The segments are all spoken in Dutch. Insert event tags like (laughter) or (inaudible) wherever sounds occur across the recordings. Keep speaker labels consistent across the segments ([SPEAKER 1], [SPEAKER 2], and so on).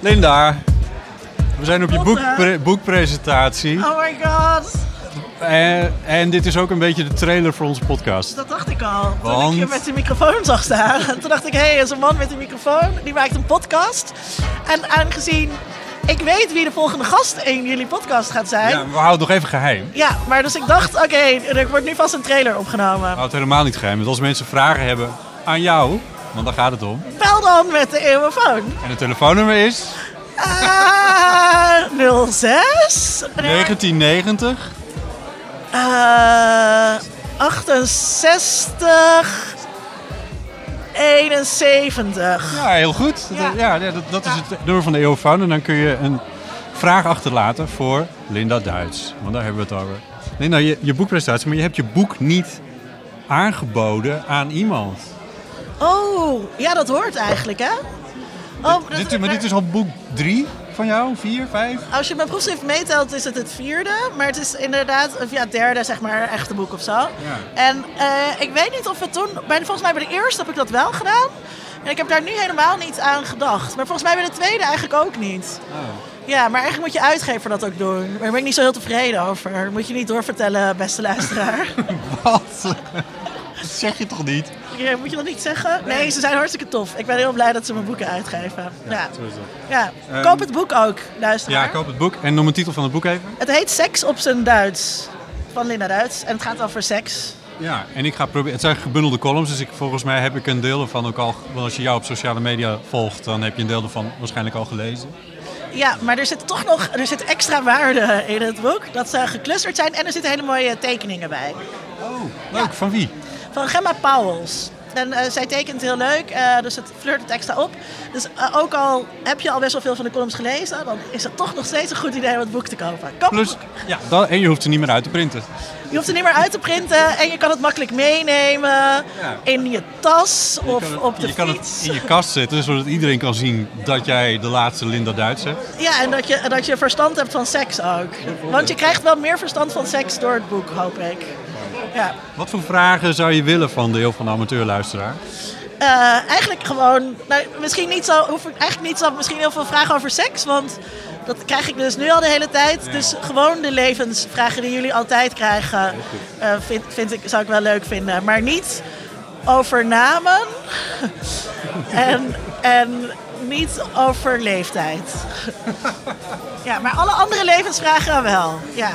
[SPEAKER 1] Linda, we zijn op je boekpre- boekpresentatie.
[SPEAKER 2] Oh my god,
[SPEAKER 1] En, en dit is ook een beetje de trailer voor onze podcast.
[SPEAKER 2] dat dacht ik al. Toen
[SPEAKER 1] Want?
[SPEAKER 2] ik je met die microfoon zag staan. (laughs) Toen dacht ik, hé, hey, er is een man met een microfoon. Die maakt een podcast. En aangezien ik weet wie de volgende gast in jullie podcast gaat zijn.
[SPEAKER 1] Ja,
[SPEAKER 2] Ja,
[SPEAKER 1] we houden het nog even geheim.
[SPEAKER 2] maar dus ik dacht, oké, er wordt nu vast een trailer opgenomen.
[SPEAKER 1] We houden het helemaal niet geheim. Want als mensen vragen hebben aan jou, want daar gaat het om.
[SPEAKER 2] Bel dan met de eeuwenfoon.
[SPEAKER 1] En het telefoonnummer is
[SPEAKER 2] Eh, 06? Nee,
[SPEAKER 1] 1990.
[SPEAKER 2] eh, 68... 71.
[SPEAKER 1] Ja, heel goed. Dat-
[SPEAKER 2] Ja.
[SPEAKER 1] Ja, ja, dat, dat is het nummer van de EOFound. En dan kun je een vraag achterlaten voor Linda Duits. Want daar hebben we het over. Linda, je, je boekpresentatie, maar je hebt je boek niet aangeboden aan iemand.
[SPEAKER 2] Oh, ja, dat hoort eigenlijk, hè? Oh, dat-
[SPEAKER 1] Dit, dit- maar dit is al boek 3 van jou? 4, 5?
[SPEAKER 2] Als je mijn proefschrift meetelt, is het het vierde. Maar het is inderdaad, of ja, het derde, zeg maar, echte boek of zo. En eh, ik weet niet of het toen... Bij, volgens mij bij de eerste heb ik dat wel gedaan. En ik heb daar nu helemaal niet aan gedacht. Maar volgens mij bij de tweede eigenlijk ook niet. Ja, maar eigenlijk moet je uitgever dat ook doen. Maar daar ben ik niet zo heel tevreden over. Moet je niet doorvertellen, beste luisteraar. (laughs)
[SPEAKER 1] Wat? Dat zeg je toch niet?
[SPEAKER 2] Ja, eh, moet je dat niet zeggen? Nee, ze zijn hartstikke tof. Ik ben heel blij dat ze mijn boeken uitgeven. Ja, ja. koop het boek ook, luisteraar.
[SPEAKER 1] Ehm, Ja, koop het boek en noem een titel van het boek even.
[SPEAKER 2] Het heet Seks op zijn Duits. Van Linda Duits. En het gaat over seks.
[SPEAKER 1] Ja, en ik ga proberen. Het zijn gebundelde columns, dus ik, volgens mij heb ik een deel ervan ook al. ge- Want als je jou op sociale media volgt, dan heb je een deel ervan waarschijnlijk al gelezen.
[SPEAKER 2] Ja, maar er zit toch nog er zit extra waarde in het boek. Dat ze geclusterd zijn en er zitten hele mooie tekeningen bij.
[SPEAKER 1] Oh, leuk. Van wie?
[SPEAKER 2] Van Gemma Pauwels. En eh, zij tekent heel leuk, eh, dus het flirt het extra op. Dus eh, ook al heb je al best wel veel van de columns gelezen, dan is het toch nog steeds een goed idee om het boek te kopen. Koop het
[SPEAKER 1] Plus,
[SPEAKER 2] boek.
[SPEAKER 1] ja, dan, en je hoeft er niet meer uit te printen.
[SPEAKER 2] Je hoeft er niet meer uit te printen en je kan het makkelijk meenemen in je tas
[SPEAKER 1] Je
[SPEAKER 2] of
[SPEAKER 1] kan het-
[SPEAKER 2] op de
[SPEAKER 1] je kan
[SPEAKER 2] fiets.
[SPEAKER 1] het in je kast zetten, zodat iedereen kan zien dat jij de laatste Linda Duits hebt.
[SPEAKER 2] Ja, en dat je, en dat je verstand hebt van seks ook. Want je krijgt wel meer verstand van seks door het boek, hoop ik. Ja.
[SPEAKER 1] Wat voor vragen zou je willen van de heel van de amateurluisteraar?
[SPEAKER 2] Eh, eigenlijk gewoon, nou, misschien niet zo, hoef ik eigenlijk niet zo, misschien heel veel vragen over seks, want dat krijg ik dus nu al de hele tijd. Dus gewoon de levensvragen die jullie altijd krijgen, eh, vind, vind ik, zou ik wel leuk vinden. Maar niet over namen en, en niet over leeftijd. ja, maar alle andere levensvragen wel, ja.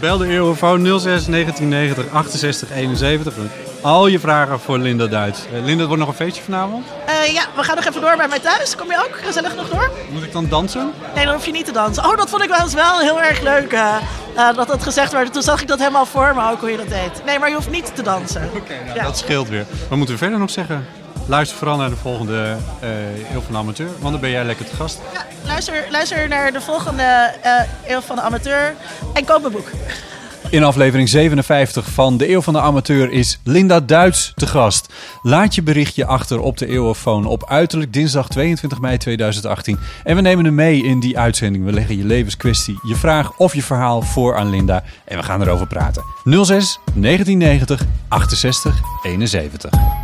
[SPEAKER 1] Bel de Eurofoon 06 1990 68 71. met Al je vragen voor Linda Duits. Eh, Linda, het wordt nog een feestje vanavond.
[SPEAKER 2] Eh, ja, we gaan nog even door bij mij thuis. Kom je ook gezellig nog door?
[SPEAKER 1] Moet ik dan dansen?
[SPEAKER 2] Nee, dan hoef je niet te dansen. Oh, dat vond ik wel eens wel heel erg leuk eh, eh, dat dat gezegd werd. Toen zag ik dat helemaal voor me, ook hoe je dat deed. Nee, maar je hoeft niet te dansen. Oké,
[SPEAKER 1] Ja, Dat scheelt weer. Wat moeten we verder nog zeggen? Luister vooral naar de volgende eh Eeuw van de Amateur, want dan ben jij lekker te gast.
[SPEAKER 2] Ja, luister, luister naar de volgende eh Eeuw van de Amateur en koop een boek.
[SPEAKER 1] In aflevering 57 van De Eeuw van de Amateur is Linda Duits te gast. Laat je berichtje achter op de Eeuwofoon op uiterlijk dinsdag 22 mei 2018. En we nemen hem mee in die uitzending. We leggen je levenskwestie, je vraag of je verhaal voor aan Linda. En we gaan erover praten. 06 1990 68 71.